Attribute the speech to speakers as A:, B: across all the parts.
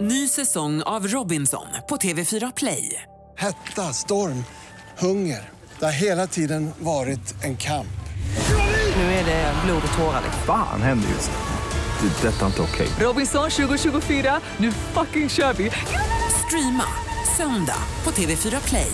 A: Ny säsong av Robinson på TV4 Play.
B: Hetta, storm, hunger. Det har hela tiden varit en kamp.
A: Nu är det blod och tårar. liksom.
C: Fan händer just nu. Det. är Detta är inte okej.
A: Robinson 2024, nu fucking kör vi! Streama söndag på TV4 Play.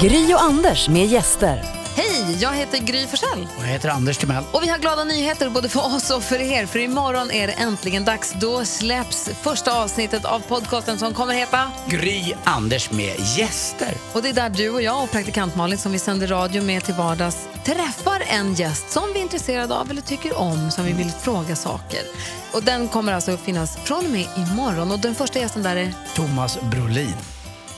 D: Gry och Anders med gäster.
E: Hej, jag heter Gry Forssell.
F: Jag heter Anders Timell.
E: Och vi har glada nyheter både för oss och för er. För imorgon är det äntligen dags. Då släpps första avsnittet av podcasten som kommer heta...
F: Gry Anders med gäster.
E: Och det är där du och jag och praktikant Malin som vi sänder radio med till vardags träffar en gäst som vi är intresserade av eller tycker om, som vi vill fråga saker. Och den kommer alltså att finnas från och med imorgon. Och den första gästen där är...
F: Thomas Brolin.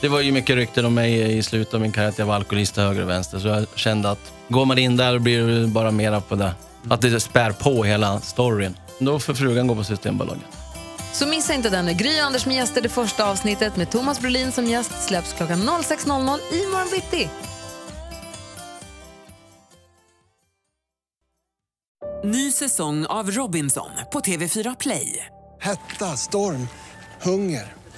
G: Det var ju mycket rykten om mig i slutet av min karriär, att jag var alkoholist till höger och vänster. Så jag kände att går man in där blir det bara mera på det. Att det spär på hela storyn. Då får frugan gå på Systembolaget.
E: Så missa inte den nu. Gry och Anders med gäster, det första avsnittet med Thomas Brolin som gäst släpps klockan 06.00 imorgon bitti.
A: Ny säsong av Robinson på TV4 Play.
B: Hetta, storm, hunger.